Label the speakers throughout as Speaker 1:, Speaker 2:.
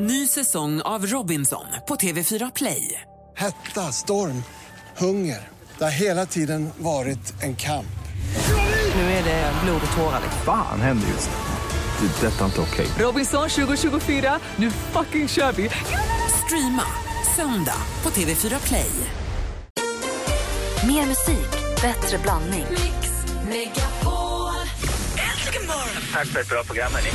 Speaker 1: Ny säsong av Robinson på TV4 Play.
Speaker 2: Hetta, storm, hunger. Det har hela tiden varit en kamp.
Speaker 1: Nu är det blod och tårar. liksom.
Speaker 3: Fan händer just nu. Det. är Detta är inte okej.
Speaker 1: Robinson 2024, nu fucking kör vi! Streama söndag på TV4 Play.
Speaker 4: Mer musik, bättre blandning.
Speaker 5: Tack för ett bra program, hörni.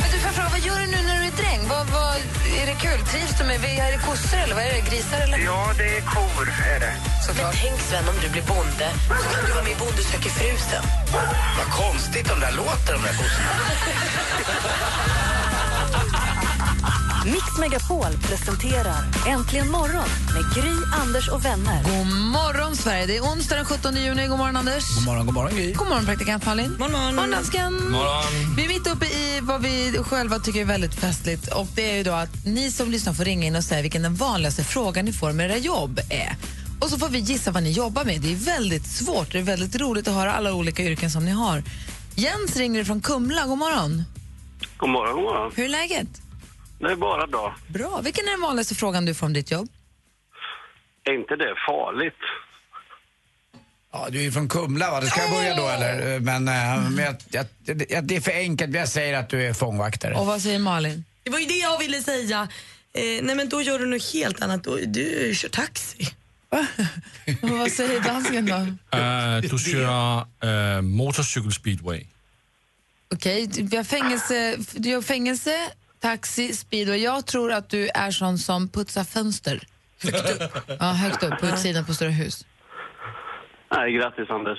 Speaker 6: Men du, får jag fråga, vad gör du nu när du är dräng? Vad, vad, är det kul? Trivs du med vi- Är det kossor eller vad är det? Grisar eller?
Speaker 5: Ja, det är kor, är det.
Speaker 7: Men tänk Sven om du blir bonde, så kan du vara med i Bonde söker frusen.
Speaker 5: Vad konstigt de där låter, de där kossorna.
Speaker 4: Mix Megapol presenterar Äntligen morgon med Gry, Anders och vänner.
Speaker 6: God morgon, Sverige. Det är onsdag den 17 juni. God morgon, Anders. God morgon, god morgon Gry. God morgon, praktikant Malin. God morgon. morgon, dansken. Vi är mitt uppe i vad vi själva tycker är väldigt festligt. Och det är ju då att ni som lyssnar får ringa in och säga vilken den vanligaste frågan ni får med era jobb är. Och så får vi gissa vad ni jobbar med. Det är väldigt svårt. Det är väldigt roligt att höra alla olika yrken som ni har. Jens ringer från Kumla. God morgon.
Speaker 8: God morgon, god morgon.
Speaker 6: Hur är läget?
Speaker 8: Det är bara bra.
Speaker 6: Bra. Vilken är den vanligaste frågan du får om ditt jobb?
Speaker 8: Är inte det farligt?
Speaker 9: Ja, du är ju från Kumla va? Det ska jag börja då eller? Men, eh, men jag, jag, jag, det är för enkelt. Jag säger att du är fångvaktare.
Speaker 6: Och vad säger Malin?
Speaker 7: Det var ju det jag ville säga. Eh, nej men då gör du något helt annat. Då, du kör taxi.
Speaker 6: Och vad säger dansken då?
Speaker 10: Øh,
Speaker 11: Uh, du kör uh, motorcykelspeedway.
Speaker 6: Okej, vi har fängelse, du gör fängelse, taxi, speed och jag tror att du är sån som putsar fönster. Högt upp. Ja, högt upp på utsidan på stora hus.
Speaker 8: Nej, grattis Anders.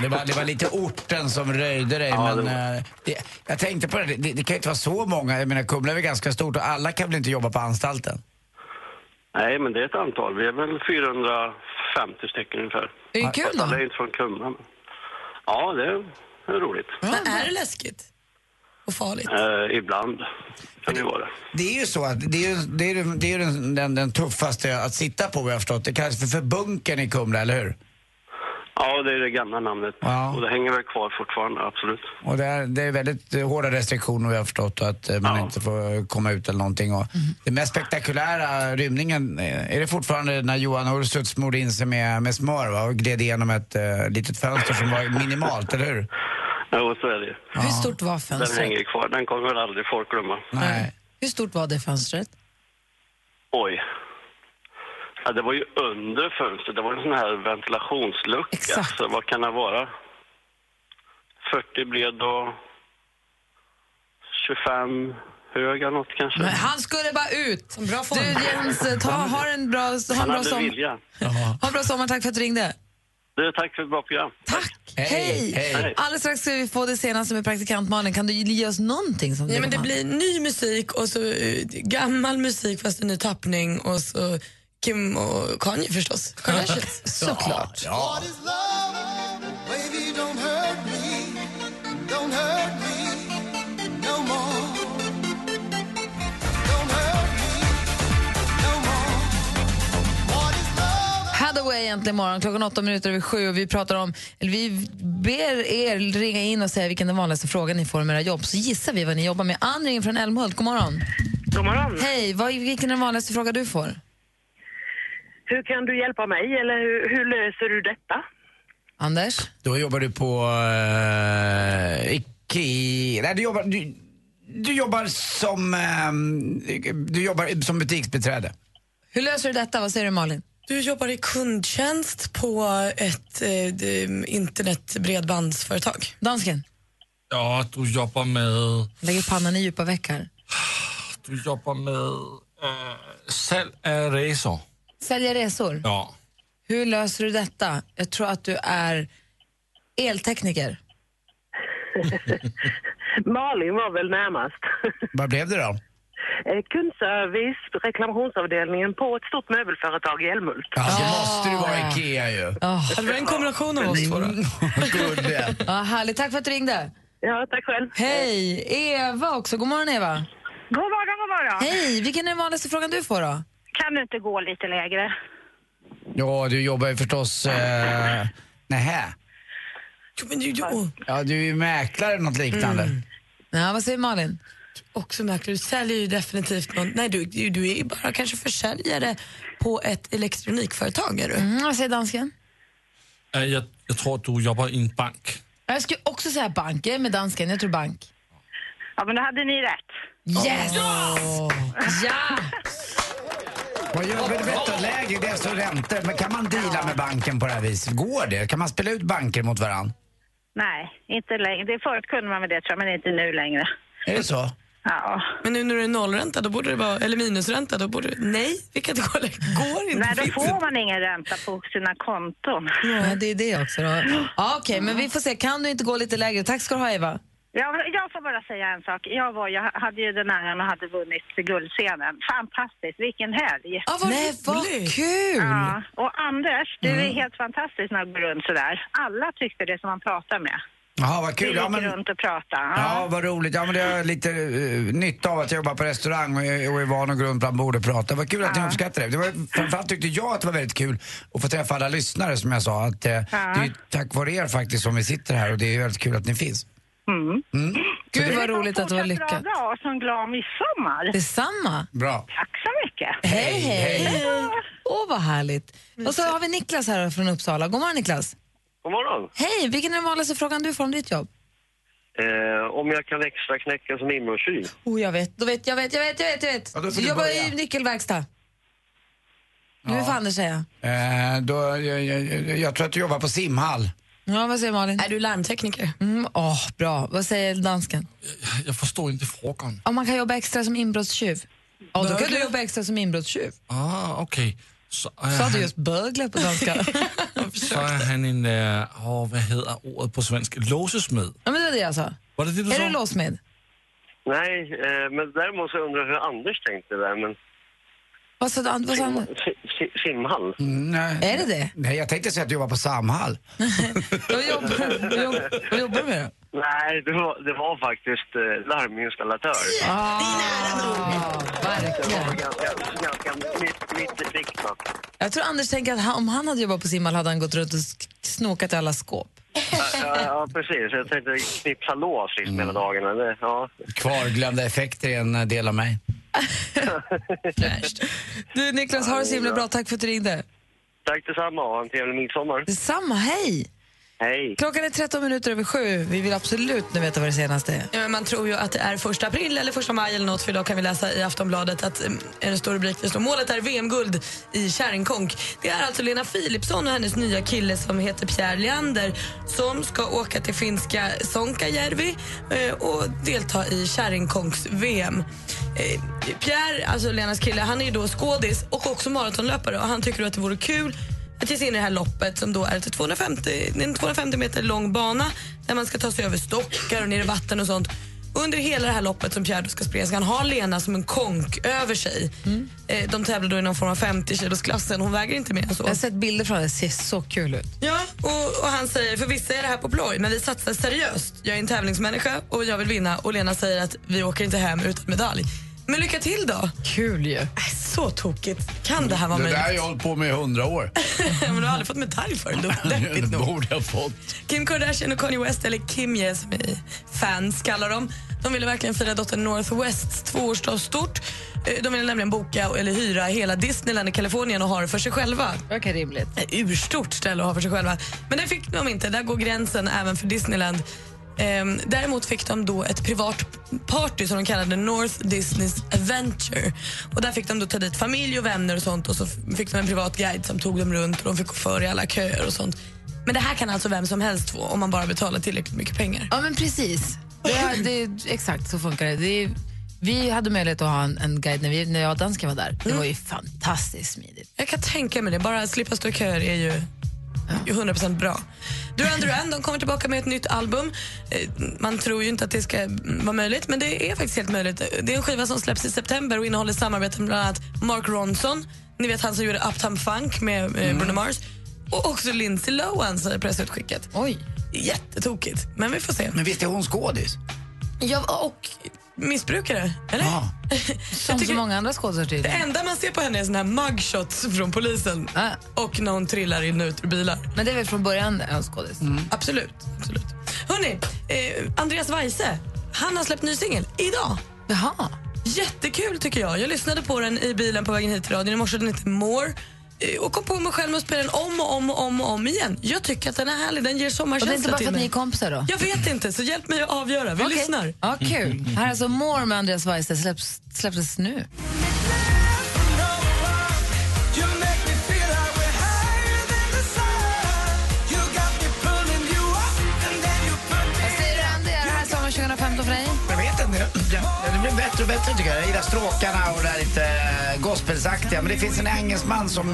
Speaker 9: Det var, det var lite orten som röjde dig. men, eh, det, jag tänkte på det, det, det kan ju inte vara så många. Jag menar, Kumla är väl ganska stort och alla kan väl inte jobba på anstalten?
Speaker 8: Nej, men det är ett antal. Vi är väl 450 stycken ungefär.
Speaker 6: Är det kul
Speaker 8: Alla
Speaker 6: då?
Speaker 8: är inte från Kumla. men- Ja, det är, det är roligt.
Speaker 7: Men är det läskigt? Och farligt?
Speaker 8: Eh, ibland kan det vara det.
Speaker 9: Det är ju så att det är, ju- det är, ju- det är ju den, den, den tuffaste att sitta på vad jag har förstått. Det kallas för, för bunkern i Kumla, eller hur?
Speaker 8: Ja, det är det gamla namnet.
Speaker 9: Ja.
Speaker 8: Och det hänger väl kvar fortfarande, absolut.
Speaker 9: Och det är, det är väldigt eh, hårda restriktioner vad jag har förstått och att eh, man
Speaker 8: Ja.
Speaker 9: inte får eh, komma ut eller någonting. Och Det mest spektakulära rymningen, eh, är det fortfarande när Johan Ursut smorde in sig med, med smör va? och gled igenom ett eh, litet fönster som var minimalt, eller hur?
Speaker 8: Jo, så är det ju.
Speaker 6: Hur stort var
Speaker 8: Den
Speaker 6: fönstret?
Speaker 8: hänger kvar. Den kommer väl aldrig folk glömma.
Speaker 9: Nej.
Speaker 6: Hur stort var det fönstret?
Speaker 8: Oj. Ja, det var ju under fönstret. Det var en sån här ventilationslucka.
Speaker 6: Exakt.
Speaker 8: Så vad kan det vara? 40 blev då 25 höga något kanske.
Speaker 6: Men han skulle bara ut!
Speaker 7: Bra form.
Speaker 6: Du Jens, ta, ha en bra, ha en
Speaker 8: Han
Speaker 6: bra,
Speaker 8: hade
Speaker 6: som,
Speaker 8: vilja.
Speaker 6: ha en bra sommar. Tack för att du ringde.
Speaker 8: Du, tack för ett bra program.
Speaker 6: Tack!
Speaker 9: Hej,
Speaker 6: Hej!
Speaker 9: hej.
Speaker 6: Alldeles strax ska vi få det senaste med praktikant Malin. Kan du ge oss någonting som du
Speaker 7: Nej men det
Speaker 6: jobbar med?
Speaker 7: blir ny musik och så eh, gammal musik fast i ny tappning och så Kim och Kanye förstås. Kardashians.
Speaker 6: Såklart.
Speaker 9: Ja.
Speaker 6: Hathaway egentligen imorgon klockan åtta minuter över sju och vi pratar om, eller vi ber er ringa in och säga vilken den vanligaste frågan ni får om era jobb så gissar vi vad ni jobbar med. Ann ringer från Älmhult, god morgon.
Speaker 12: God morgon.
Speaker 6: Hej, vad, vilken är den vanligaste fråga du får?
Speaker 12: Hur kan du hjälpa mig eller hur, hur löser du detta?
Speaker 6: Anders?
Speaker 9: Då jobbar du på eh, Ikea, nej du jobbar, du, du jobbar som, eh, du jobbar som butiksbiträde.
Speaker 6: Hur löser du detta? Vad säger du Malin?
Speaker 7: Du jobbar i kundtjänst på ett eh, d- internetbredbandsföretag.
Speaker 6: Dansken?
Speaker 11: Ja, du jobbar med...
Speaker 6: Lägger pannan i djupa veck här.
Speaker 11: Du jobbar med... Uh,
Speaker 10: øh,
Speaker 11: sälj av resor.
Speaker 6: Sälja resor?
Speaker 11: Ja.
Speaker 6: Hur löser du detta? Jag tror att du är eltekniker.
Speaker 12: Malin var väl närmast.
Speaker 9: Vad blev det då?
Speaker 12: Eh, Kundservice, reklamationsavdelningen på ett stort möbelföretag i Älmhult.
Speaker 9: Ja, det måste du vara Ikea ju.
Speaker 6: Oh.
Speaker 7: Det var en kombination av oss två. då.
Speaker 9: Gubben.
Speaker 6: Ja, härligt, tack för att du ringde.
Speaker 12: Ja, tack själv.
Speaker 6: Hej! Eva också, god morgon Eva.
Speaker 12: God morgon, god morgon.
Speaker 6: Hej, vilken är den vanligaste frågan du får då?
Speaker 12: Kan du inte gå lite lägre?
Speaker 9: Ja, du jobbar ju förstås... Eh, nähä.
Speaker 6: Men du, du, åh.
Speaker 9: Ja, du är ju mäklare eller något liknande.
Speaker 13: Ja, vad säger Malin?
Speaker 6: Också mäklare, du säljer ju definitivt någon. Nej, du, du, du är ju bara kanske försäljare på ett elektronikföretag. Är du?
Speaker 13: Mm, vad säger dansken?
Speaker 10: Eh, Jag, jag tror att du jobbar i en bank.
Speaker 13: Jag skulle också säga bank. Jag är med dansken. Jag tror bank.
Speaker 4: Ja, men då hade ni rätt.
Speaker 13: Yes! Ja!
Speaker 9: Vad gör men vänta, lägre desto räntor. Men kan man deala med banken på det här viset? Går det? Kan man spela ut banker mot varandra?
Speaker 4: Nej, inte längre. Det förut kunde man med det tror jag, men inte nu längre.
Speaker 9: Är det så?
Speaker 4: Ja.
Speaker 6: Men nu när det är nollränta, då borde det vara, eller minusränta, då borde det, nej, vi kan inte gå längre. Går inte.
Speaker 4: Nej, då
Speaker 6: finns
Speaker 4: får
Speaker 6: inte.
Speaker 4: man ingen ränta på sina konton.
Speaker 13: Ja, det är det också. Då. Ja, Okej, men vi får se. Kan du inte gå lite lägre? Tack ska du ha, Eva.
Speaker 4: Jag, jag får bara säga en sak. Jag, var, jag hade ju den äran och hade vunnit guldscenen. Fantastiskt, vilken helg!
Speaker 13: Ja, vad Nej, vad kul!
Speaker 4: Ja. Och Anders, du
Speaker 10: Mhm.
Speaker 4: är helt fantastisk när du går runt sådär. Alla tyckte det som man pratar med.
Speaker 9: Jaha, vad kul.
Speaker 4: Vi
Speaker 9: Ja,
Speaker 4: gick
Speaker 9: men,
Speaker 4: runt och pratade.
Speaker 9: ja, vad roligt. Ja, men det är lite eh, nytta av att jag jobbar på restaurang och är, och är van att gå runt bland bord och prata. Vad kul att ni uppskattar det. det var, framförallt tyckte jag att det var väldigt kul att få träffa alla lyssnare som jag sa. Att, eh, Det är ju tack vare er faktiskt som vi sitter här och det är ju väldigt kul att ni finns.
Speaker 4: Mm.
Speaker 9: Mm. Så
Speaker 13: Gud, vad roligt att det var lyckat.
Speaker 4: Bra dag och så en glad midsommar.
Speaker 13: Detsamma.
Speaker 9: Bra.
Speaker 4: Tack så mycket.
Speaker 13: Hej, hej!
Speaker 6: Eh.
Speaker 13: Åh, vad härligt. Och så har vi Niklas här från Uppsala. God morgon, Niklas.
Speaker 8: God morgon.
Speaker 13: Hej! Vilken är den vanligaste frågan du får om ditt jobb?
Speaker 8: Eh, om jag kan extra knäcka som inbrottstjuv?
Speaker 13: Oh, jag vet, då vet, jag vet, jag vet, jag vet, jag vet.
Speaker 8: Ja, då får
Speaker 13: du
Speaker 8: du
Speaker 13: jobbar
Speaker 8: börja.
Speaker 13: i nyckelverkstad. Nu
Speaker 9: Ja.
Speaker 13: får Anders säga.
Speaker 9: Eh, då, jag, jag, jag, jag tror att du jobbar på simhall.
Speaker 13: Ja, vad säger Malin?
Speaker 6: Är du larmtekniker?
Speaker 13: Mm, åh, bra. Vad säger dansken?
Speaker 10: Jag förstår inte frågan.
Speaker 13: Om man kan jobba extra som inbrottstjuv? Ja, då kan du
Speaker 10: Bögel?
Speaker 13: jobba extra som inbrottstjuv.
Speaker 10: Ah, okej. Så, eh,
Speaker 13: Sa du
Speaker 10: han-
Speaker 13: just bögler på danska?
Speaker 10: så är han en, eh, åh, vad heter ordet på svenska, låsesmed.
Speaker 13: ja, men det var det jag sa.
Speaker 10: Var det det du
Speaker 13: Är
Speaker 10: sa?
Speaker 13: du låsmed?
Speaker 8: Nej, eh, men däremot så undrar jag hur Anders tänkte där. Men
Speaker 13: Vad sa du? Vad sa han?
Speaker 8: si- si- simhall?
Speaker 6: Mm.
Speaker 9: Nej.
Speaker 13: Är det det?
Speaker 9: Nej, jag tänkte säga att du jobbar på Samhall.
Speaker 13: Vad jobbar du med
Speaker 8: Nej, det var, det var faktiskt eh, larminstallatör. Det var ganska, ganska mitt, mitt i sikten.
Speaker 13: Jag tror Anders tänker att han, om han hade jobbat på simhall hade han gått runt och sk- snokat i alla skåp.
Speaker 8: Ja, ja, ja, precis. Jag tänkte knipsa lås liksom hela dagarna. Det, ja.
Speaker 9: Kvarglömda effekter är en eh, del av mig.
Speaker 13: Du Niklas, ha det så himla bra. Tack för att du ringde.
Speaker 8: Tack detsamma och ha en trevlig midsommar.
Speaker 13: Detsamma, hej!
Speaker 8: Hej.
Speaker 13: Klockan är 13 minuter över sju. Vi vill absolut nu veta vad det senaste är.
Speaker 6: Ja, men man tror ju att det är första april eller första maj eller något för idag kan vi läsa i Aftonbladet att mm, en stor rubrik det står målet är VM-guld i kärnkonk. Det är alltså Lena Philipsson och hennes nya kille som heter Pierre Leander som ska åka till finska Sonkajärvi eh, och delta i kärnkonks VM. Eh, Pierre, alltså Lenas kille, han är ju då skådis och också maratonlöpare och han tycker då att det vore kul att ge sig in i det här loppet som då är ett 250, en 250 meter lång bana där man ska ta sig över stockar och ner i vatten och sånt. Under hela det här loppet som Pierre då ska springa ska han ha Lena som en konk över sig.
Speaker 13: Mm.
Speaker 6: Eh, De tävlar då i någon form av 50 kilosklassen. Hon väger inte mer än så.
Speaker 13: Jag har sett bilder från det. Det ser så kul ut.
Speaker 6: Ja, och, och han säger för vissa är det här på ploj, men vi satsar seriöst. Jag är en tävlingsmänniska och jag vill vinna. Och Lena säger att vi åker inte hem utan medalj. Men lycka till då!
Speaker 13: Kul ju.
Speaker 6: Äh, Så tokigt. Kan det här vara möjligt?
Speaker 9: har jag hållit på med i hundra år.
Speaker 6: men du har aldrig fått medalj för det.
Speaker 9: det borde jag fått.
Speaker 6: Kim Kardashian och Kanye West, eller Kimye som vi fans kallar dem, de ville verkligen fira dottern Northwests tvåårsdag stort. Eh, De ville nämligen boka eller hyra hela Disneyland i Kalifornien och ha det för sig själva.
Speaker 13: Verkar rimligt.
Speaker 6: Ett urstort ställe att ha för sig själva. Men det fick de inte. Där går gränsen även för Disneyland. Ehm, Däremot fick de då ett privat party som de kallade North Disneys Adventure. Och där fick de då ta dit familj och vänner och sånt och så fick de en privat guide som tog dem runt och de fick gå före i alla köer och sånt. Men det här kan alltså vem som helst få om man bara betalar tillräckligt mycket pengar.
Speaker 13: Ja, men precis. Det, är- det, är- exakt, så funkar det. det är, vi hade möjlighet att ha en, en guide när, vi, när jag och dansken var där. Det var ju fantastiskt smidigt.
Speaker 6: Jag kan tänka mig det. Bara att slippa stå i köer är ju ju 100% bra. Duran Duran de kommer tillbaka med ett nytt album. Eh, Man tror ju inte att det ska mm, vara möjligt, men det är faktiskt helt möjligt. Det är en skiva som släpps i september och innehåller samarbeten med bland annat Mark Ronson, ni vet han som gjorde Uptown Funk med eh,
Speaker 13: Mm.
Speaker 6: Bruno Mars, och också Lindsay Lohan, säger pressutskicket.
Speaker 13: Oj.
Speaker 6: Jättetokigt, men vi får se.
Speaker 9: Men visst är hon skådis?
Speaker 6: Ja, och
Speaker 7: missbrukare. Eller?
Speaker 6: Som så många andra skådespelare.
Speaker 7: Det enda man ser på henne är såna här mugshots från polisen och någon trillar in och ut ur bilar.
Speaker 6: Men det är väl från början en skådis?
Speaker 7: Absolut. absolut. Hörni, eh, Andreas Weise, han har släppt ny singel idag.
Speaker 6: Jaha.
Speaker 7: Jättekul tycker jag. Jag lyssnade på den i bilen på vägen hit till radion i morse. Den heter More. eh, Och kom på mig själv med att spela den om och om och om, och om igen. Jag tycker att den är härlig. Den ger
Speaker 6: Och det är inte
Speaker 7: sommarkänsla
Speaker 6: bara för
Speaker 7: till
Speaker 6: att ni
Speaker 7: mig.
Speaker 6: är kompisar då?
Speaker 7: Jag vet inte, så hjälp mig att avgöra. Vi
Speaker 6: Okej.
Speaker 7: lyssnar.
Speaker 6: Ja, kul. Här är alltså More med Andreas Weise släpps, släpptes nu. Vad säger du, Andy? Är det här sommaren 2015 för dig?
Speaker 9: Jag vet inte. Ja, det blir bättre och bättre tycker jag. Jag gillar stråkarna och det här lite eh, gospelsaktiga. Men det finns en engelsman som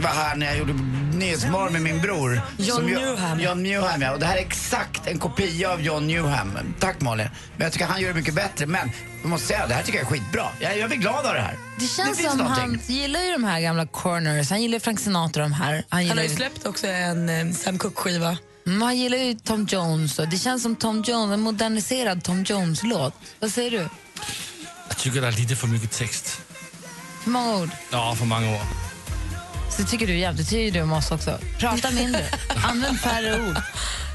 Speaker 9: var här när jag gjorde Nyhetsmorgon med min bror.
Speaker 7: John
Speaker 9: som ju-
Speaker 7: Newham.
Speaker 9: John Newham, ja. Och det här är exakt en kopia av John Newham. Tack Malin. Men jag tycker han gör det mycket bättre. Men jag måste säga, det här tycker jag är skitbra. Jag, jag blir glad av det här.
Speaker 6: Det känns
Speaker 9: finns
Speaker 6: som
Speaker 9: någonting.
Speaker 6: han gillar ju de här gamla corners. Han gillar Frank Sinatra och de här.
Speaker 7: Han
Speaker 6: gillar
Speaker 7: har ju släppt också en eh, Sam Cooke-skiva.
Speaker 6: Mm, han gillar ju Tom Jones. Och det känns som Tom Jones, en moderniserad Tom Jones-låt. Vad säger du?
Speaker 14: Jag tycker det är lite för mycket text.
Speaker 6: Hur många ord?
Speaker 14: Ja, för många år.
Speaker 6: Så tycker du jämt. Det tycker du om oss också. Prata mindre. Använd färre ord.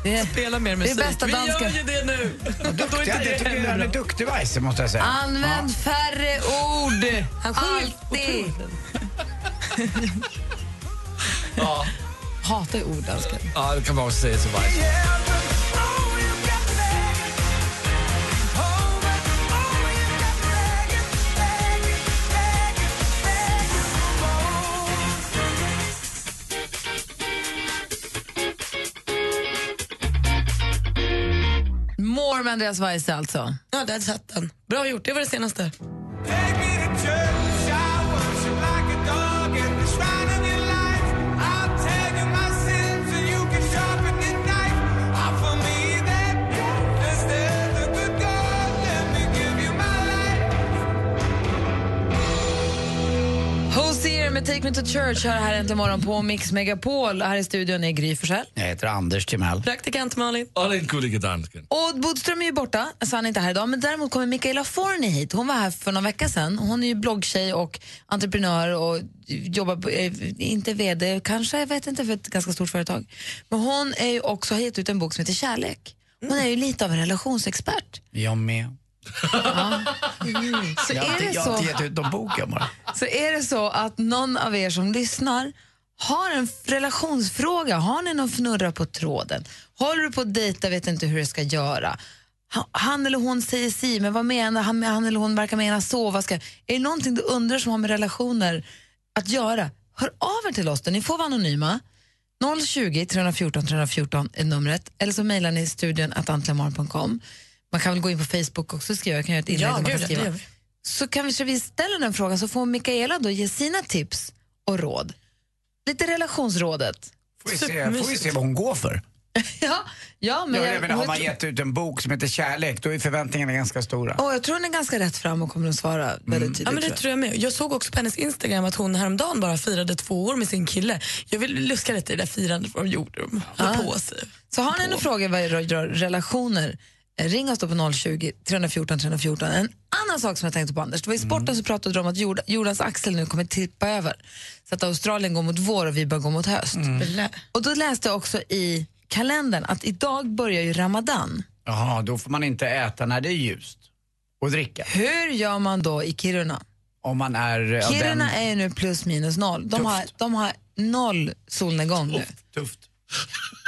Speaker 6: Det är,
Speaker 7: Spela mer
Speaker 6: Det är bästa
Speaker 7: Vi
Speaker 6: dansken.
Speaker 7: gör ju det nu. Då är
Speaker 9: Duktig,
Speaker 7: inte
Speaker 9: jag
Speaker 7: det
Speaker 9: tycker
Speaker 7: heller
Speaker 9: han är
Speaker 7: bra.
Speaker 9: duktig Weise måste jag säga.
Speaker 6: Använd färre ord.
Speaker 7: Han sjunger
Speaker 6: Alltid.
Speaker 14: Ja,
Speaker 6: Hatar ju ord, dansken.
Speaker 14: ja det kan man också säga till mig.
Speaker 6: More med Andreas Weise alltså.
Speaker 7: Ja, där satt den. Bra gjort, det var det senaste.
Speaker 6: Hosier med Take Me To Church hör här äntligen morgon på Mix Megapol. Här i studion är Gry Forssell.
Speaker 9: Jag heter Anders Timell.
Speaker 7: Praktikant Malin.
Speaker 14: Och den gullige dansken.
Speaker 6: Och Bodström är ju borta, så han är inte här idag. Men däremot kommer Mikaela Forni hit. Hon var här för någon vecka sedan. Hon är ju bloggtjej och entreprenör och jobbar, på- eh, inte vd kanske, jag vet inte, för ett ganska stort företag. Men hon är ju också, har gett ut en bok som heter Kärlek. Hon är ju lite av en relationsexpert.
Speaker 9: Jag med.
Speaker 6: Så
Speaker 9: jag, har
Speaker 6: är
Speaker 9: inte-
Speaker 6: det
Speaker 9: jag har inte gett
Speaker 6: så,
Speaker 9: ut någon bok jag bara.
Speaker 6: så är det så att någon av er som lyssnar har en f- relationsfråga, har ni någon fnurra på tråden? Håller du på att dejta, vet inte hur du ska göra? Ha- Han eller hon säger si, men vad menar han? Han eller hon verkar mena så. Vad ska, är det någonting du undrar som har med relationer att göra? Hör av er till oss, då. ni får vara anonyma. 020 314 314 är numret, eller så mejlar ni studion att antlamorgon.com. Man kan väl gå in på Facebook också och skriva, jag kan göra ett inlägg
Speaker 7: Ja,
Speaker 6: där man
Speaker 7: gud,
Speaker 6: kan
Speaker 7: ja, det
Speaker 6: skriva.
Speaker 7: gör vi.
Speaker 6: Så kan vi, så vi ställa den frågan så får Mikaela då ge sina tips och råd. Lite relationsrådet.
Speaker 9: Får vi se, får vi se vad hon går för.
Speaker 6: Ja, ja men
Speaker 9: Men,
Speaker 6: jag,
Speaker 9: jag, menar, har man
Speaker 6: jag,
Speaker 9: gett ut en bok som heter Kärlek, då är förväntningarna ganska stora.
Speaker 6: Åh, jag tror hon är ganska rätt fram och kommer att svara väldigt tydligt.
Speaker 7: Ja, men det tror jag med. Jag såg också på hennes Instagram att hon häromdagen bara firade två år med sin kille. Jag vill luska lite i det där firandet vad de gjorde. De höll på sig.
Speaker 6: Ah. Så har ni några frågor vad rör relationer, eh, ring oss då på 020 314 314. En annan sak som jag tänkte på Anders, det var i sporten så pratade du om att jord, jordens axel nu kommer tippa över. Så att Australien går mot vår och vi bör gå mot höst. Och då läste jag också i kalendern att idag börjar ju Ramadan.
Speaker 9: Jaha, då får man inte äta när det är ljust. Och dricka.
Speaker 6: Hur gör man då i Kiruna?
Speaker 9: Om man är... eh, av
Speaker 6: Kiruna
Speaker 9: den,
Speaker 6: är ju nu plus minus noll. De, har, de har noll solnedgång nu.
Speaker 9: Tufft.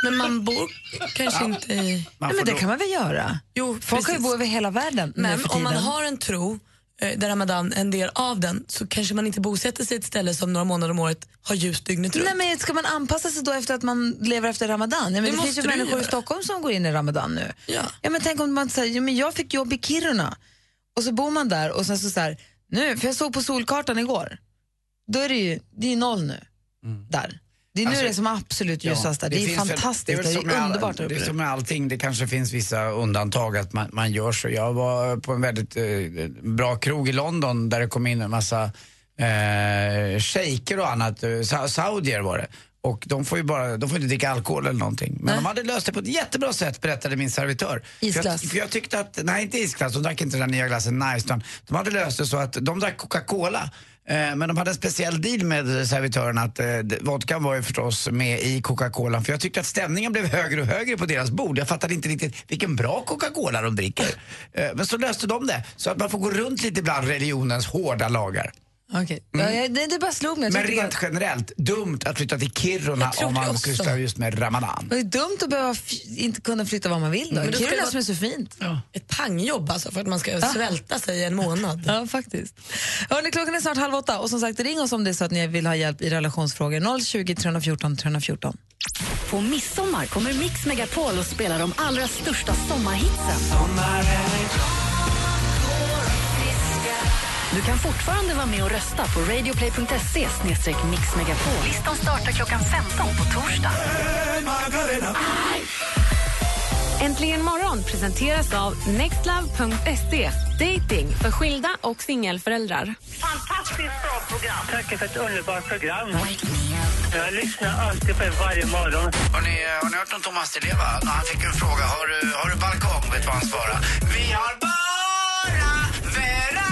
Speaker 7: Men man bor kanske inte i...
Speaker 6: Nej, men det kan man väl göra?
Speaker 7: Jo,
Speaker 6: Folk kan ju
Speaker 7: precis.
Speaker 6: bo över hela världen nu
Speaker 7: Men
Speaker 6: för
Speaker 7: om man
Speaker 6: tiden.
Speaker 7: har en tro, eh, där ramadan är en del av den, så kanske man inte bosätter sig i ett ställe som några månader om året har ljus dygnet runt.
Speaker 6: Nej, men ska man anpassa sig då efter att man lever efter ramadan?
Speaker 7: Det
Speaker 6: Ja, men det finns
Speaker 7: måste
Speaker 6: ju
Speaker 7: du
Speaker 6: människor i
Speaker 7: göra.
Speaker 6: Stockholm som går in i ramadan nu.
Speaker 7: Ja.
Speaker 6: men tänk om man säger, ja, men jag fick jobb i Kiruna och så bor man där och sen så, så här, nu, för jag såg på solkartan igår, då är det ju, det är ju noll nu, där. Det är nu
Speaker 9: Mm. Alltså,
Speaker 6: det är som absolut ljusast där. Det, är ju
Speaker 9: finns väl-
Speaker 6: fantastiskt,
Speaker 9: det
Speaker 6: det
Speaker 9: är,
Speaker 6: är,
Speaker 9: väl som med all-
Speaker 6: underbart där
Speaker 9: Det är
Speaker 6: uppe.
Speaker 9: som med allting, det kanske finns vissa undantag att man, man gör så. Jag var på en väldigt eh, bra krog i London där det kom in en massa eh, shejker och annat, eh, sa- saudier var det. Och de får ju bara, de får inte dricka alkohol eller någonting. Men de hade löst det på ett jättebra sätt berättade min servitör.
Speaker 6: Isglass.
Speaker 9: För jag, för jag tyckte att, nej inte isglass, de drack inte den där nya glassen Nice. Utan de hade löst det så att de drack Coca-Cola. eh, Men de hade en speciell deal med servitören att eh, vodka var ju förstås med i Coca-Cola. För jag tyckte att stämningen blev högre och högre på deras bord. Jag fattade inte riktigt vilken bra Coca-Cola de dricker. Eh, Men så löste de det. Så att man får gå runt lite bland religionens hårda lagar.
Speaker 6: Okej.
Speaker 9: Mm.
Speaker 6: Ja, jag- det, det bara slog mig. Jag
Speaker 9: Men
Speaker 6: tyckte bara-
Speaker 9: rent generellt, dumt att flytta till Kiruna
Speaker 6: Jag tror
Speaker 9: om
Speaker 6: det
Speaker 9: man
Speaker 6: också.
Speaker 9: sysslar just med Ramadan.
Speaker 6: Det är dumt att behöva f- inte kunna flytta var man vill. Då.
Speaker 9: Men då ska
Speaker 6: Kiruna
Speaker 9: det vara-
Speaker 6: som är så fint. Ah.
Speaker 7: Ett pangjobb alltså för att man ska svälta sig i en månad.
Speaker 6: Ja, faktiskt. Hörrni, klockan är snart halv åtta och som sagt ring oss om det är så att ni vill ha hjälp i relationsfrågor. 020 314 314.
Speaker 4: På midsommar kommer Mix Megapol och spelar de allra största sommarhitsen. Du kan fortfarande vara med och rösta på radioplay.se mixmegapol. Listan startar klockan 15 på torsdag.
Speaker 15: Äntligen morgon presenteras av nextlove.se. Dating för skilda och singelföräldrar.
Speaker 12: Fantastiskt bra program. Tack för ett underbart program. Jag lyssnar alltid på er varje morgon.
Speaker 9: Har ni, eh, har ni hört om Thomas Di Leva? Han fick en fråga, har du, har du balkong? Vet du vad han svarade? Vi har bara veranda.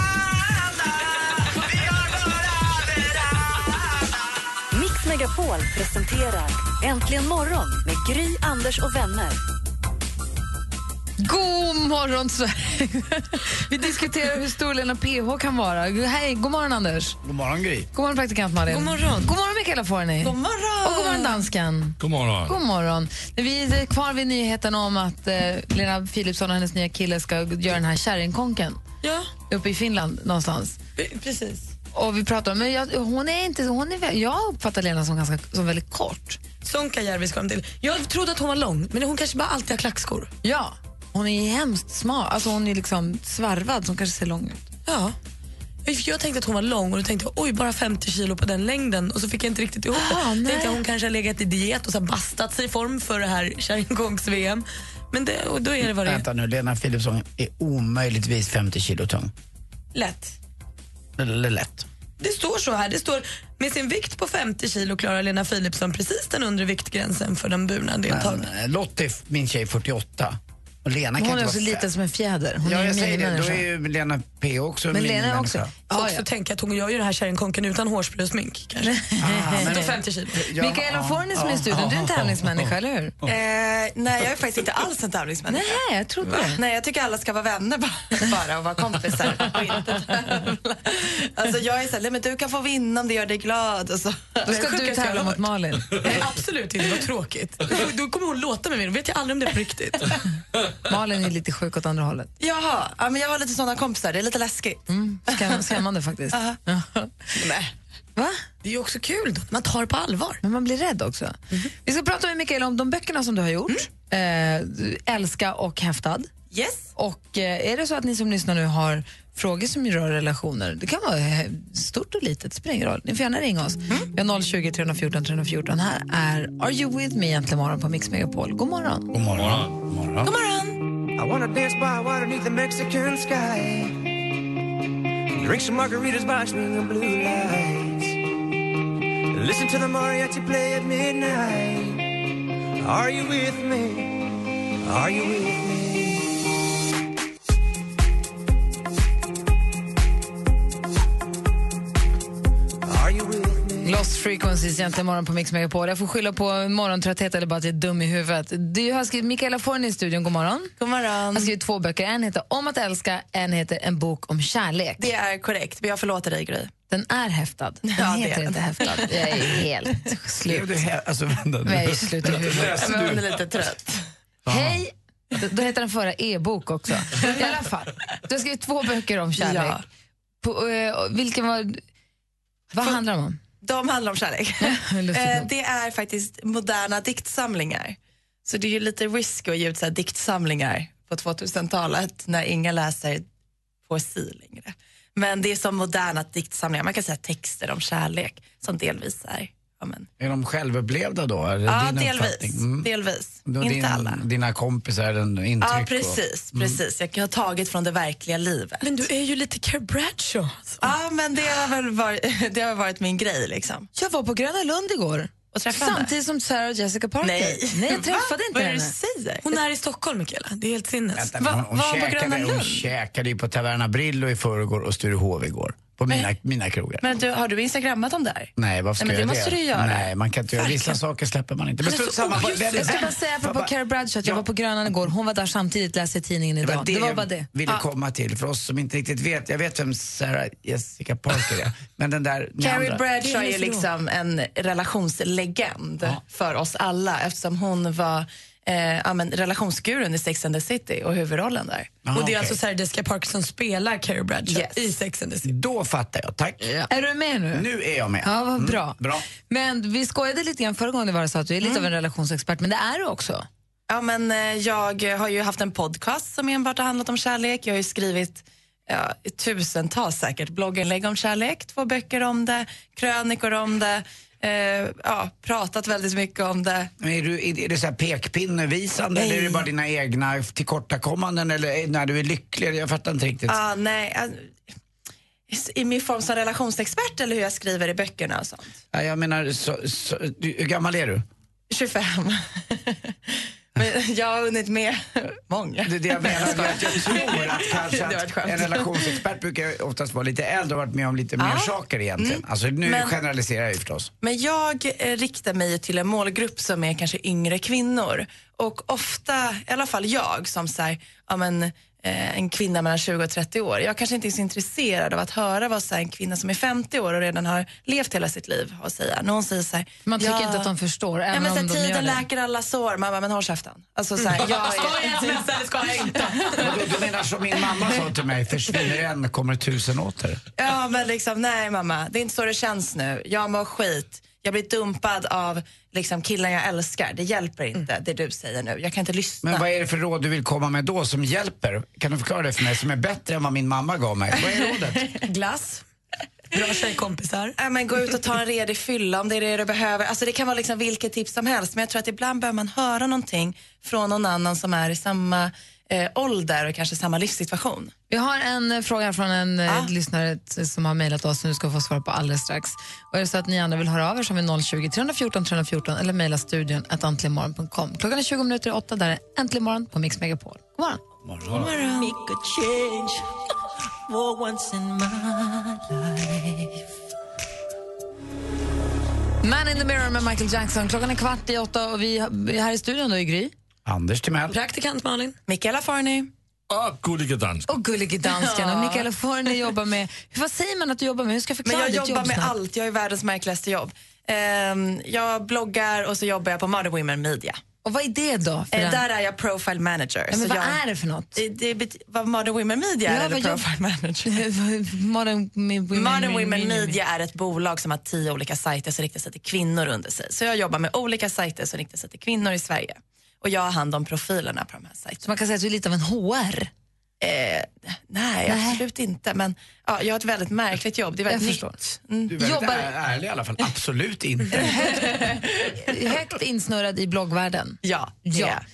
Speaker 4: Mix Megapol presenterar Äntligen morgon med Gry, Anders och vänner.
Speaker 6: God morgon, Sverige! Vi diskuterar hur stor Lena PH kan vara. Hej, god morgon, Anders.
Speaker 9: God morgon, Gry.
Speaker 6: God morgon, praktikant Malin. God morgon, god morgon Mikaela Forni. God morgon. Och god morgon, dansken.
Speaker 14: God morgon.
Speaker 6: God morgon. Vi är kvar vid nyheten om att eh, Lena Philipsson och hennes nya kille ska göra den här kärringkonken
Speaker 7: Ja,
Speaker 6: uppe i Finland någonstans.
Speaker 7: p- precis.
Speaker 6: Och vi pratar om, men jag, hon är inte, hon är, vä- jag uppfattar Lena som, ganska, som väldigt kort.
Speaker 7: Sonkajärvi ska de till. Jag trodde att hon var lång, men hon kanske bara alltid har klackskor.
Speaker 6: Ja, hon är ju hemskt smal. Alltså hon är liksom svarvad, som kanske ser lång ut.
Speaker 7: Ja. Jag tänkte att hon var lång och då tänkte jag oj, bara 50 kilo på den längden. Och så fick jag inte riktigt ihop det.
Speaker 6: Ah, nej.
Speaker 7: tänkte jag, hon kanske har legat i diet och så har bastat sig i form för det här kärringkonks-VM. Men det, och då är det vad det är.
Speaker 9: Vänta nu, Lena Philipsson är omöjligtvis 50 kilo tung.
Speaker 7: Lätt.
Speaker 9: Eller lätt.
Speaker 7: Det står så här. Det står med sin vikt på 50 kilo klarar Lena Philipsson precis den undre viktgränsen för de burna deltagarna.
Speaker 9: Men, eh, Lottie, min tjej, 48. Och Lena
Speaker 6: Men
Speaker 9: kan
Speaker 6: hon
Speaker 9: inte
Speaker 6: är
Speaker 9: vara
Speaker 6: så
Speaker 9: fem.
Speaker 6: liten som en fjäder. Hon
Speaker 9: Ja,
Speaker 6: är
Speaker 9: jag
Speaker 6: ju
Speaker 9: säger det. Då
Speaker 6: minimänniska.
Speaker 9: är ju Lena P också en
Speaker 6: Men Lena är
Speaker 9: minimänniska.
Speaker 6: också...
Speaker 7: Jag får också tänka att hon gör ju den här kärringkonken utan hårspray och smink. Kanske.
Speaker 6: men-
Speaker 7: Står 50 kilo.
Speaker 6: Ja, Mikaela Forni som är i studion, du är en tävlingsmänniska, eller hur?
Speaker 10: Eh, nej, jag är faktiskt inte alls en tävlingsmänniska.
Speaker 6: Nej, jag trodde det.
Speaker 10: Nej, jag tycker alla ska vara vänner bara, bara och vara kompisar. och inte tävla. alltså, jag är så här, nej, men du kan få vinna om det gör dig glad. Och så.
Speaker 6: Då ska du tävla mot Malin.
Speaker 7: Nej, absolut inte, vad tråkigt. Då, då kommer hon låta mig mer, då vet jag aldrig om det är på riktigt.
Speaker 6: Malin är lite sjuk åt andra hållet.
Speaker 10: Jaha, ja, men jag har lite sådana kompisar. Det är lite läskigt.
Speaker 6: Skräm, skrämmande faktiskt.
Speaker 10: Aha.
Speaker 6: Nej. Va?
Speaker 7: Det är ju också kul då, man tar det på allvar.
Speaker 6: Men man blir rädd också.
Speaker 10: Mhm.
Speaker 6: Vi ska prata med Mikaela om de böckerna som du har gjort.
Speaker 10: Mm.
Speaker 6: Eh, älska och häftad.
Speaker 10: Yes.
Speaker 6: Och eh, är det så att ni som lyssnar nu har frågor som rör relationer, det kan vara eh, stort och litet, spelar ingen roll. Ni får gärna ringa oss. Vi har 020 314 314. Här är Are You With Me egentligen morgon på Mix Megapol. God morgon.
Speaker 9: God morgon. God morgon.
Speaker 6: God morgon.
Speaker 16: I wanna dance by water beneath the Mexican sky. Drink some margaritas by string of blue lights. Listen to the mariachi play at midnight. Are you with me? Are you with me? Are you with me?
Speaker 6: Lost Frequencies egentligen morgon på Mix Megapol. Jag får skylla på morgontrötthet eller bara att jag är dum i huvudet. Du har skrivit Mikaela Forni i studion, god morgon.
Speaker 10: God morgon.
Speaker 6: Har skrivit två böcker. En heter Om att älska, en heter En bok om kärlek.
Speaker 10: Det är korrekt, men jag förlåter dig Gry.
Speaker 6: Den är häftad. Den
Speaker 10: Ja, det är
Speaker 6: heter
Speaker 10: den.
Speaker 6: inte häftad. Jag är helt slut.
Speaker 9: Blev du he- alltså, vänta nu.
Speaker 6: Nej, slut i huvudet.
Speaker 9: Läste
Speaker 6: Men hon
Speaker 9: du?
Speaker 6: är
Speaker 10: lite trött.
Speaker 6: Hej! Då- Då heter den förra e-bok också. I alla fall, du har skrivit två böcker om kärlek.
Speaker 10: Ja.
Speaker 6: På, eh, vilken var... Vad handlar de om?
Speaker 10: De handlar om kärlek.
Speaker 6: lustigt
Speaker 10: Eh, det är faktiskt moderna diktsamlingar. Så det är ju lite risk att ge ut så här diktsamlingar på 2000-talet när ingen läser poesi längre. Men det är som moderna diktsamlingar, man kan säga texter om kärlek som delvis är... Ja, men.
Speaker 9: Är de självupplevda då? Är det
Speaker 10: Ja,
Speaker 9: din
Speaker 10: delvis.
Speaker 9: uppfattning? Mm.
Speaker 10: delvis.
Speaker 9: Då
Speaker 10: Inte
Speaker 9: din,
Speaker 10: alla.
Speaker 9: Dina kompisar, eller intryck?
Speaker 10: Ja,
Speaker 9: och-
Speaker 10: precis.
Speaker 9: Mm.
Speaker 10: precis. Jag kan ha tagit från det verkliga livet.
Speaker 7: Men du är ju lite Care Bradshaw.
Speaker 10: Ja, men det har väl varit, det har varit min grej. liksom.
Speaker 6: Jag var på Gröna Lund igår.
Speaker 10: och träffa henne.
Speaker 6: Samtidigt som Sarah och Jessica Parker.
Speaker 10: Nej.
Speaker 6: Nej Ah, jag
Speaker 10: Va?
Speaker 6: träffade
Speaker 10: Vad
Speaker 6: inte
Speaker 10: är det
Speaker 6: henne.
Speaker 10: du säger?
Speaker 7: Hon är i Stockholm, Mikaela. Det är helt sinnes.
Speaker 9: Vänta, men hon, hon, käkade, hon
Speaker 7: Lund?
Speaker 9: käkade ju på Taverna Brillo i förrgår och Sturehov igår. På mina, mina krogar.
Speaker 10: Men du, har du instagrammat om det här?
Speaker 9: Nej, varför ska
Speaker 10: Nej, men
Speaker 9: jag
Speaker 10: det måste du göra.
Speaker 9: Nej, man kan inte göra. Vissa saker släpper man inte.
Speaker 6: Han
Speaker 9: Men
Speaker 6: är
Speaker 9: strunt
Speaker 6: så
Speaker 9: samma. Vad-
Speaker 6: oschysst.
Speaker 9: vem-
Speaker 6: Jag ska bara säga apropå
Speaker 9: vad-
Speaker 6: Carrie Bradshaw att jag var på Grönan igår. Hon var där samtidigt, läser i tidningen
Speaker 9: Det
Speaker 6: idag.
Speaker 9: var det,
Speaker 6: Det var
Speaker 9: jag
Speaker 6: bara det.
Speaker 9: ville
Speaker 6: Ja.
Speaker 9: komma till, för oss som inte riktigt vet. Jag vet vem Sarah Jessica Parker är, men den där ni
Speaker 10: Carrie
Speaker 9: andra-
Speaker 10: Bradshaw är liksom en relationslegend för oss alla eftersom hon var eh, ja, men, relationsgurun i Sex and the City och huvudrollen där.
Speaker 7: och det är
Speaker 9: Ah, okej.
Speaker 7: alltså Sarah Jessica Parker som spelar Carrie Bradshaw i Sex and the City.
Speaker 9: Då fattar jag, tack.
Speaker 6: Är du med nu?
Speaker 9: Nu är jag med.
Speaker 6: Ja, vad
Speaker 9: Mm,
Speaker 6: bra.
Speaker 9: bra.
Speaker 6: Men vi skojade lite grann förra gången det var så att du är lite av en relationsexpert, men det är du också.
Speaker 10: Mm. Ja, men, eh, jag har ju haft en podcast som enbart har handlat om kärlek. Jag har ju skrivit ja, tusentals säkert blogginlägg om kärlek, två böcker om det, krönikor om det, eh, ja, pratat väldigt mycket om det.
Speaker 9: Men är, du, är det så här pekpinnevisande
Speaker 10: Nej.
Speaker 9: eller är det bara dina egna tillkortakommanden eller när du är lycklig? Jag fattar inte riktigt.
Speaker 10: Ja, nej, alltså, I min form som relationsexpert eller hur jag skriver i böckerna och sånt.
Speaker 9: Ja, jag menar, så, så, du, hur gammal är du?
Speaker 10: 25. Men jag har hunnit med många.
Speaker 9: Det är det jag menar. det är att Jag tror att kanske
Speaker 10: Det var ett
Speaker 9: att
Speaker 10: skämt.
Speaker 9: en relationsexpert brukar oftast vara lite äldre och varit med om lite mer
Speaker 10: Ja.
Speaker 9: saker egentligen.
Speaker 10: Mm.
Speaker 9: Alltså nu
Speaker 10: Men-
Speaker 9: generaliserar jag ju förstås.
Speaker 10: Men jag eh, riktar mig till en målgrupp som är kanske yngre kvinnor. Och ofta, i alla fall jag som så här, ja, men, eh, en kvinna mellan 20 och 30 år, jag kanske inte är så intresserad av att höra vad så här, en kvinna som är 50 år och redan har levt hela sitt liv har att säga. Någon säger så här,
Speaker 6: Man tycker
Speaker 10: "Ja,
Speaker 6: inte att de förstår,
Speaker 10: Ja,
Speaker 6: även
Speaker 10: men så
Speaker 6: om de
Speaker 10: här,
Speaker 6: gör
Speaker 10: tiden
Speaker 6: det. Mm.
Speaker 10: läker alla sår, mamma men håll käften. Alltså, så här, jag är-
Speaker 7: Ska jag smsa eller ska jag inte?
Speaker 9: Du, du menar som min mamma sa till mig, försvinner en kommer tusen åter.
Speaker 10: Ja, men liksom, nej mamma, det är inte så det känns nu. Jag mår skit. Jag blir dumpad av liksom, killen jag älskar. Det hjälper
Speaker 6: Mm.
Speaker 10: inte, det du säger nu. Jag kan inte lyssna.
Speaker 9: Men vad är det för råd du vill komma med då som hjälper? Kan du förklara det för mig som är bättre än vad min mamma gav mig? Vad är rådet?
Speaker 10: Glass.
Speaker 7: Bra tjejkompisar.
Speaker 10: Ja, men gå ut och ta en redig fylla om det är det du behöver. Alltså, det kan vara liksom vilket tips som helst, men jag tror att ibland behöver man höra någonting från någon annan som är i samma eh, ålder och kanske samma livssituation. Ah.
Speaker 6: Vi har en eh, fråga från en eh, lyssnare t- som har mejlat oss som du ska få svar på alldeles strax. Och är det så att ni andra vill höra av er så har vi 020 314 314 eller mejla studion att antligenmorgon.com. Klockan är 20 minuter i åtta, där är Äntligen morgon på Mix Megapol. God morgon.
Speaker 17: Make a change for once in my life.
Speaker 6: Man in the mirror med Michael Jackson. Klockan är kvart i åtta och vi är här i studion då i Gry.
Speaker 9: Anders Timell.
Speaker 6: Praktikant Malin.
Speaker 10: Mikaela Farny.
Speaker 14: Och gullige dansk.
Speaker 6: Och gullige dansken.
Speaker 10: Ja.
Speaker 6: Och Mikaela Forni jobbar med... Vad säger man att du jobbar med? Hur ska jag
Speaker 10: Men
Speaker 6: förklara
Speaker 10: jag
Speaker 6: ditt
Speaker 10: jobbar
Speaker 6: jobb
Speaker 10: med
Speaker 6: snabbt?
Speaker 10: allt. Jag är världens märkligaste jobb. Ehm, jag bloggar och så jobbar jag på Mother Women Media.
Speaker 6: Och vad är det då? för
Speaker 10: Eh,
Speaker 6: en-
Speaker 10: där är jag profile manager.
Speaker 6: Ja, men
Speaker 10: så
Speaker 6: vad
Speaker 10: jag,
Speaker 6: är det för något?
Speaker 10: Det, det bet- vad Modern Women Media är
Speaker 6: Ja,
Speaker 10: eller
Speaker 6: vad jobb-
Speaker 10: profile manager?
Speaker 6: Modern Women,
Speaker 10: Modern Women Media är ett bolag som har tio olika sajter som riktar sig till kvinnor under sig. Så jag jobbar med olika sajter som riktar sig till kvinnor i Sverige. Och jag har hand om profilerna på de här sajterna.
Speaker 6: Så man kan säga att du är lite av en HR?
Speaker 10: Eh, nej, absolut inte. Men ja, jag har ett väldigt märkligt jobb. Det är väldigt
Speaker 6: Jag
Speaker 10: nytt.
Speaker 6: förstår.
Speaker 10: Mm.
Speaker 9: Du är väldigt är, ärlig i alla fall. Absolut inte.
Speaker 6: Högt insnurrad i bloggvärlden.
Speaker 10: Ja, det är
Speaker 6: ja.
Speaker 10: jag.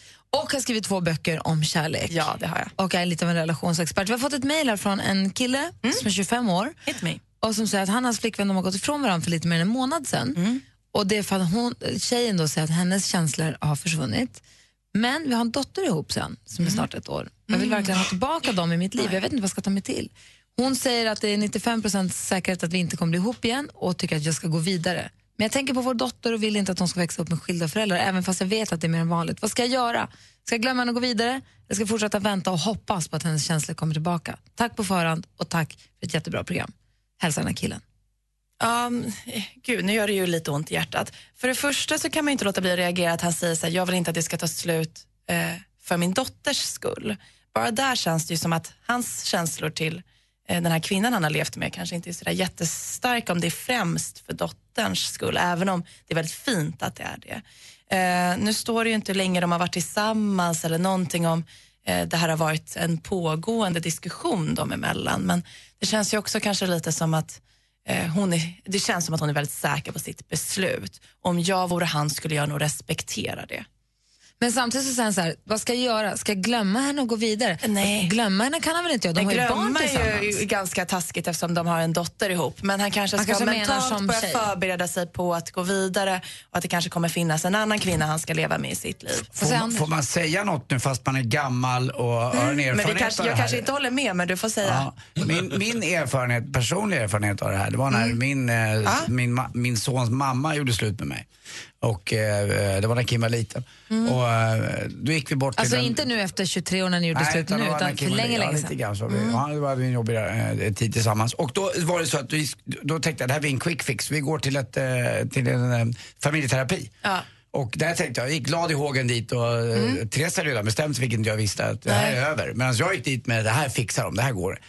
Speaker 6: Och har skrivit två böcker om kärlek.
Speaker 10: Ja, det har
Speaker 6: jag. Och är lite av en relationsexpert. Vi har fått ett mejl här från en kille
Speaker 10: Mm.
Speaker 6: som är 25 år.
Speaker 10: Hit me.
Speaker 6: Och som säger att han och hans flickvän de har gått ifrån varandra för lite mer än en månad sedan.
Speaker 10: Mm.
Speaker 6: Och det är för att hon, tjejen då säger att hennes känslor har försvunnit. Men vi har en dotter ihop sen, som
Speaker 9: Mm.
Speaker 6: är snart ett år. Jag vill verkligen ha tillbaka dem i mitt liv. Jag vet inte vad jag ska ta mig till. Hon säger att det är 95 säkerhet att vi inte kommer bli ihop igen och tycker att jag ska gå vidare. Men jag tänker på vår dotter och vill inte att hon ska växa upp med skilda föräldrar, även fast jag vet att det är mer än vanligt. Vad ska jag göra? Ska jag glömma henne och gå vidare? Jag ska jag fortsätta vänta och hoppas på att hennes känslor kommer tillbaka. Tack på förhand och tack för ett jättebra program. Hälsa den här killen.
Speaker 10: Ja, mm, eh, gud, nu gör det ju lite ont i hjärtat. För det första så kan man ju inte låta bli att reagera att han säger så här, jag vill inte att det ska ta slut eh, för min dotters skull. Bara där känns det ju som att hans känslor till eh, den här kvinnan han har levt med kanske inte är så där jättestarka om det är främst för dotterns skull, även om det är väldigt fint att det är det. Eh, nu står det ju inte hur länge de har varit tillsammans eller någonting om eh, det här har varit en pågående diskussion dem emellan, men det känns ju också kanske lite som att Eh, hon är, det känns som att hon är väldigt säker på sitt beslut. Om jag vore han skulle jag nog respektera det.
Speaker 6: Men samtidigt så säger han så här, vad ska jag göra? Ska jag glömma henne och gå vidare? Nej. Glömma henne kan han väl inte göra? De har ju barn
Speaker 10: glömma är
Speaker 6: tillsammans.
Speaker 10: ju ganska taskigt eftersom de har en dotter ihop. Men han kanske
Speaker 6: Han
Speaker 10: ska
Speaker 6: kanske menar som
Speaker 10: mentalt börja
Speaker 6: tjej.
Speaker 10: förbereda sig på att gå vidare och att det kanske kommer finnas en annan kvinna han ska leva med i sitt liv.
Speaker 9: Får, man- får man säga något nu fast man är gammal och har en
Speaker 10: Mm,
Speaker 9: erfarenhet
Speaker 10: men vi kanske,
Speaker 9: av det
Speaker 10: jag
Speaker 9: här?
Speaker 10: kanske inte håller med, men du får säga.
Speaker 9: Ja, min, min erfarenhet, personliga erfarenhet av det här, det var när
Speaker 6: Mm.
Speaker 9: min, eh,
Speaker 6: Ah.
Speaker 9: min, ma- min sons mamma gjorde slut med mig. Och eh, det var när Kim var liten.
Speaker 6: Mm.
Speaker 9: Och eh, då gick vi bort till
Speaker 6: Alltså
Speaker 9: en-
Speaker 6: inte nu efter 23 år när ni gjorde
Speaker 9: Nej,
Speaker 6: slut nu,
Speaker 9: det var
Speaker 6: utan
Speaker 9: när
Speaker 6: för
Speaker 9: Kim och
Speaker 6: länge,
Speaker 9: jag-
Speaker 6: länge
Speaker 9: Ja, lite
Speaker 6: sedan.
Speaker 9: grann så. Vi,
Speaker 6: Mm.
Speaker 9: ja, det var en jobbig eh, tid tillsammans. Och då var det så att vi, då tänkte jag det här blir en quick fix. Vi går till, ett, eh, till en eh, familjeterapi.
Speaker 10: Ja.
Speaker 9: Och där tänkte jag, jag gick glad i hågen dit och mm. Therese hade redan bestämt sig vilket jag visste att det här är över. Medan jag gick dit med det här fixar de, det här går.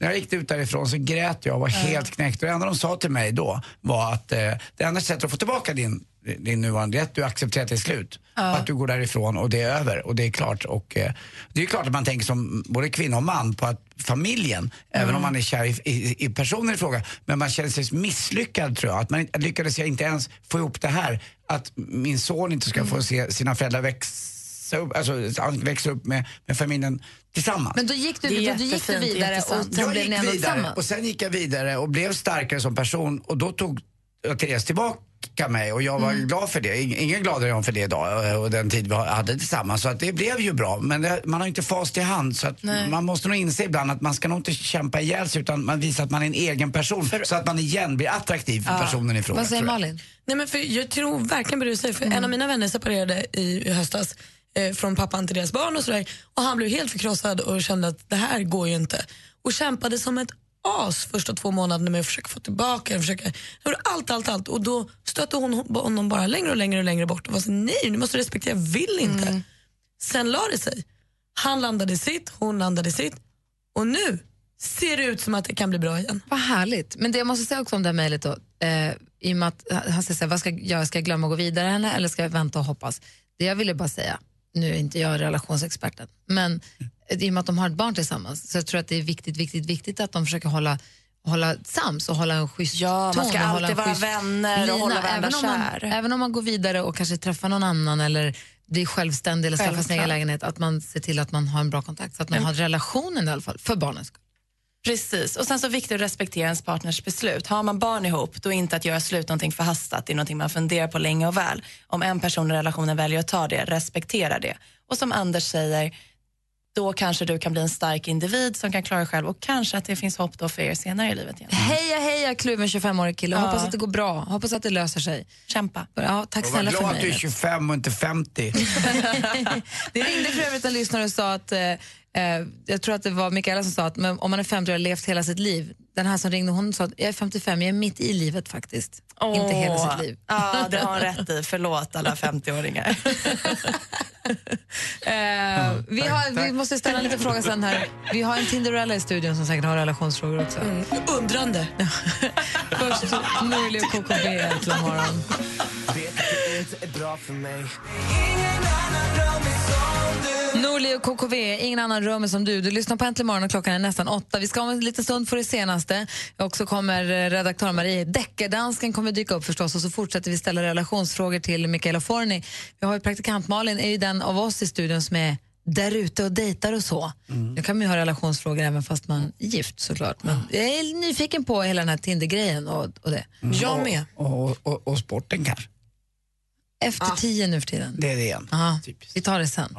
Speaker 9: När jag gick ut därifrån så grät jag och var helt knäckt. Och det enda de sa till mig då var att eh, det enda sättet att få tillbaka din, din nuvarande rätt, du accepterar att det är slut.
Speaker 18: Ja.
Speaker 9: Att du går därifrån och det är över och det är klart. Och, eh, det är ju klart att man tänker som både kvinna och man på att familjen, även om man är kär i, i, i personen i fråga, men man känner sig misslyckad tror jag. Att man inte- lyckades jag inte ens få ihop det här, att min son inte ska få se sina föräldrar växa upp, alltså, han växer upp med, med familjen tillsammans.
Speaker 6: Men då gick du, då, då gick du vidare och sen
Speaker 9: jag
Speaker 6: blev
Speaker 9: gick
Speaker 6: ni ändå
Speaker 9: vidare
Speaker 6: tillsammans.
Speaker 9: och sen gick jag vidare och blev starkare som person och då tog jag Therese tillbaka mig och jag var
Speaker 6: Mm.
Speaker 9: glad för det. Ing- Ingen gladare än jag för det idag eh, och den tid vi ha- hade tillsammans. Så att det blev ju bra. Men det, man har ju inte fast i hand så att
Speaker 10: Nej.
Speaker 9: man måste nog inse ibland att man ska nog inte kämpa ihjäl sig utan man visar att man är en egen person så att man igen blir attraktiv för
Speaker 7: Ja.
Speaker 9: personen i fråga. tror jag.
Speaker 7: Nej, men för jag tror verkligen på det du säger. För En
Speaker 6: Mm.
Speaker 7: av mina vänner separerade i, i höstas eh, från pappan till deras barn och sådär. Och han blev helt förkrossad och kände att det här går ju inte. Och kämpade som ett as första två månaderna med att försöka få tillbaka den, försöka, gjorde allt, allt, allt. Och då stötte hon honom bara längre och längre och längre bort och var så nej, du måste respektera, jag vill inte. Sen la det sig. Han landade i Mm. sitt, hon landade i sitt och nu ser det ut som att det kan bli bra igen.
Speaker 6: Vad härligt. Men det jag måste säga också om det här mejlet då, eh, i och med att han säger så här, vad ska jag göra? Ska jag glömma att gå vidare henne eller ska jag vänta och hoppas? Det jag ville bara säga, nu är inte jag relationsexperten, men i och med att de har ett barn tillsammans så jag tror att det är viktigt, viktigt, viktigt att de försöker hålla hålla sams och hålla en schysst
Speaker 10: man
Speaker 6: ton.
Speaker 10: ska
Speaker 6: och hålla
Speaker 10: alltid
Speaker 6: en
Speaker 10: vara
Speaker 6: schysst
Speaker 10: vänner och hålla varandra
Speaker 6: även om, man,
Speaker 10: kär.
Speaker 6: även om man går vidare och kanske träffar någon annan eller blir självständig eller skaffar sin
Speaker 10: Självklart.
Speaker 6: egen lägenhet, att man ser till att man har en bra kontakt så att man
Speaker 10: Mm.
Speaker 6: har relationen i alla fall, för barnens skull.
Speaker 10: Precis, och sen så är det viktigt att respektera ens partners beslut. Har man barn ihop, då är inte att göra slut någonting förhastat, det är någonting man funderar på länge och väl. Om en person i relationen väljer att ta det, respektera det. Och som Anders säger, då kanske du kan bli en stark individ som kan klara dig själv och kanske att det finns hopp då för er senare i livet igen.
Speaker 6: Heja, heja, kluven 25-årig kille.
Speaker 10: Ja.
Speaker 6: Hoppas att det går bra. Hoppas att det löser sig.
Speaker 10: Kämpa.
Speaker 6: Ja, tack
Speaker 9: och var
Speaker 6: snälla
Speaker 9: glad
Speaker 6: för
Speaker 9: att du är
Speaker 6: mig.
Speaker 9: 25 och inte 50.
Speaker 6: Det ringde för övrigt en lyssnare och sa att, eh, eh, jag tror att det var Mikaela som sa att men om man är 50 och har levt hela sitt liv. Den här som ringde hon sa att jag är 55, jag är mitt i livet faktiskt. Inte hela sitt liv.
Speaker 10: Ja, det har hon rätt i. Förlåt alla 50-åringar.
Speaker 6: Eh, vi, har, vi måste ställa lite fråga sen här. Vi har en Tinderella i studion som säkert har relationsfrågor också.
Speaker 7: Undrande.
Speaker 6: Först Norli och KKB äntligen morgon. Norli och KKV, ingen annan rör mig som du. Du lyssnar på Äntligen morgon och klockan är nästan åtta. Vi ska om en liten stund få det senaste. Och så kommer eh, redaktör Marie Deckardansken kommer dyka upp förstås och så fortsätter vi ställa relationsfrågor till Mikaela Forni. Vi har ju praktikant Malin, är ju den av oss i studion som är där ute och dejtar och så. Nu kan man ju ha relationsfrågor även fast man är gift såklart. Men jag är nyfiken på hela den här Tinder-grejen och, och det.
Speaker 9: Jag med. Och, och, och, och sporten kanske.
Speaker 6: Efter tio nu för tiden.
Speaker 9: Det är det igen.
Speaker 6: Ja, vi tar det sen.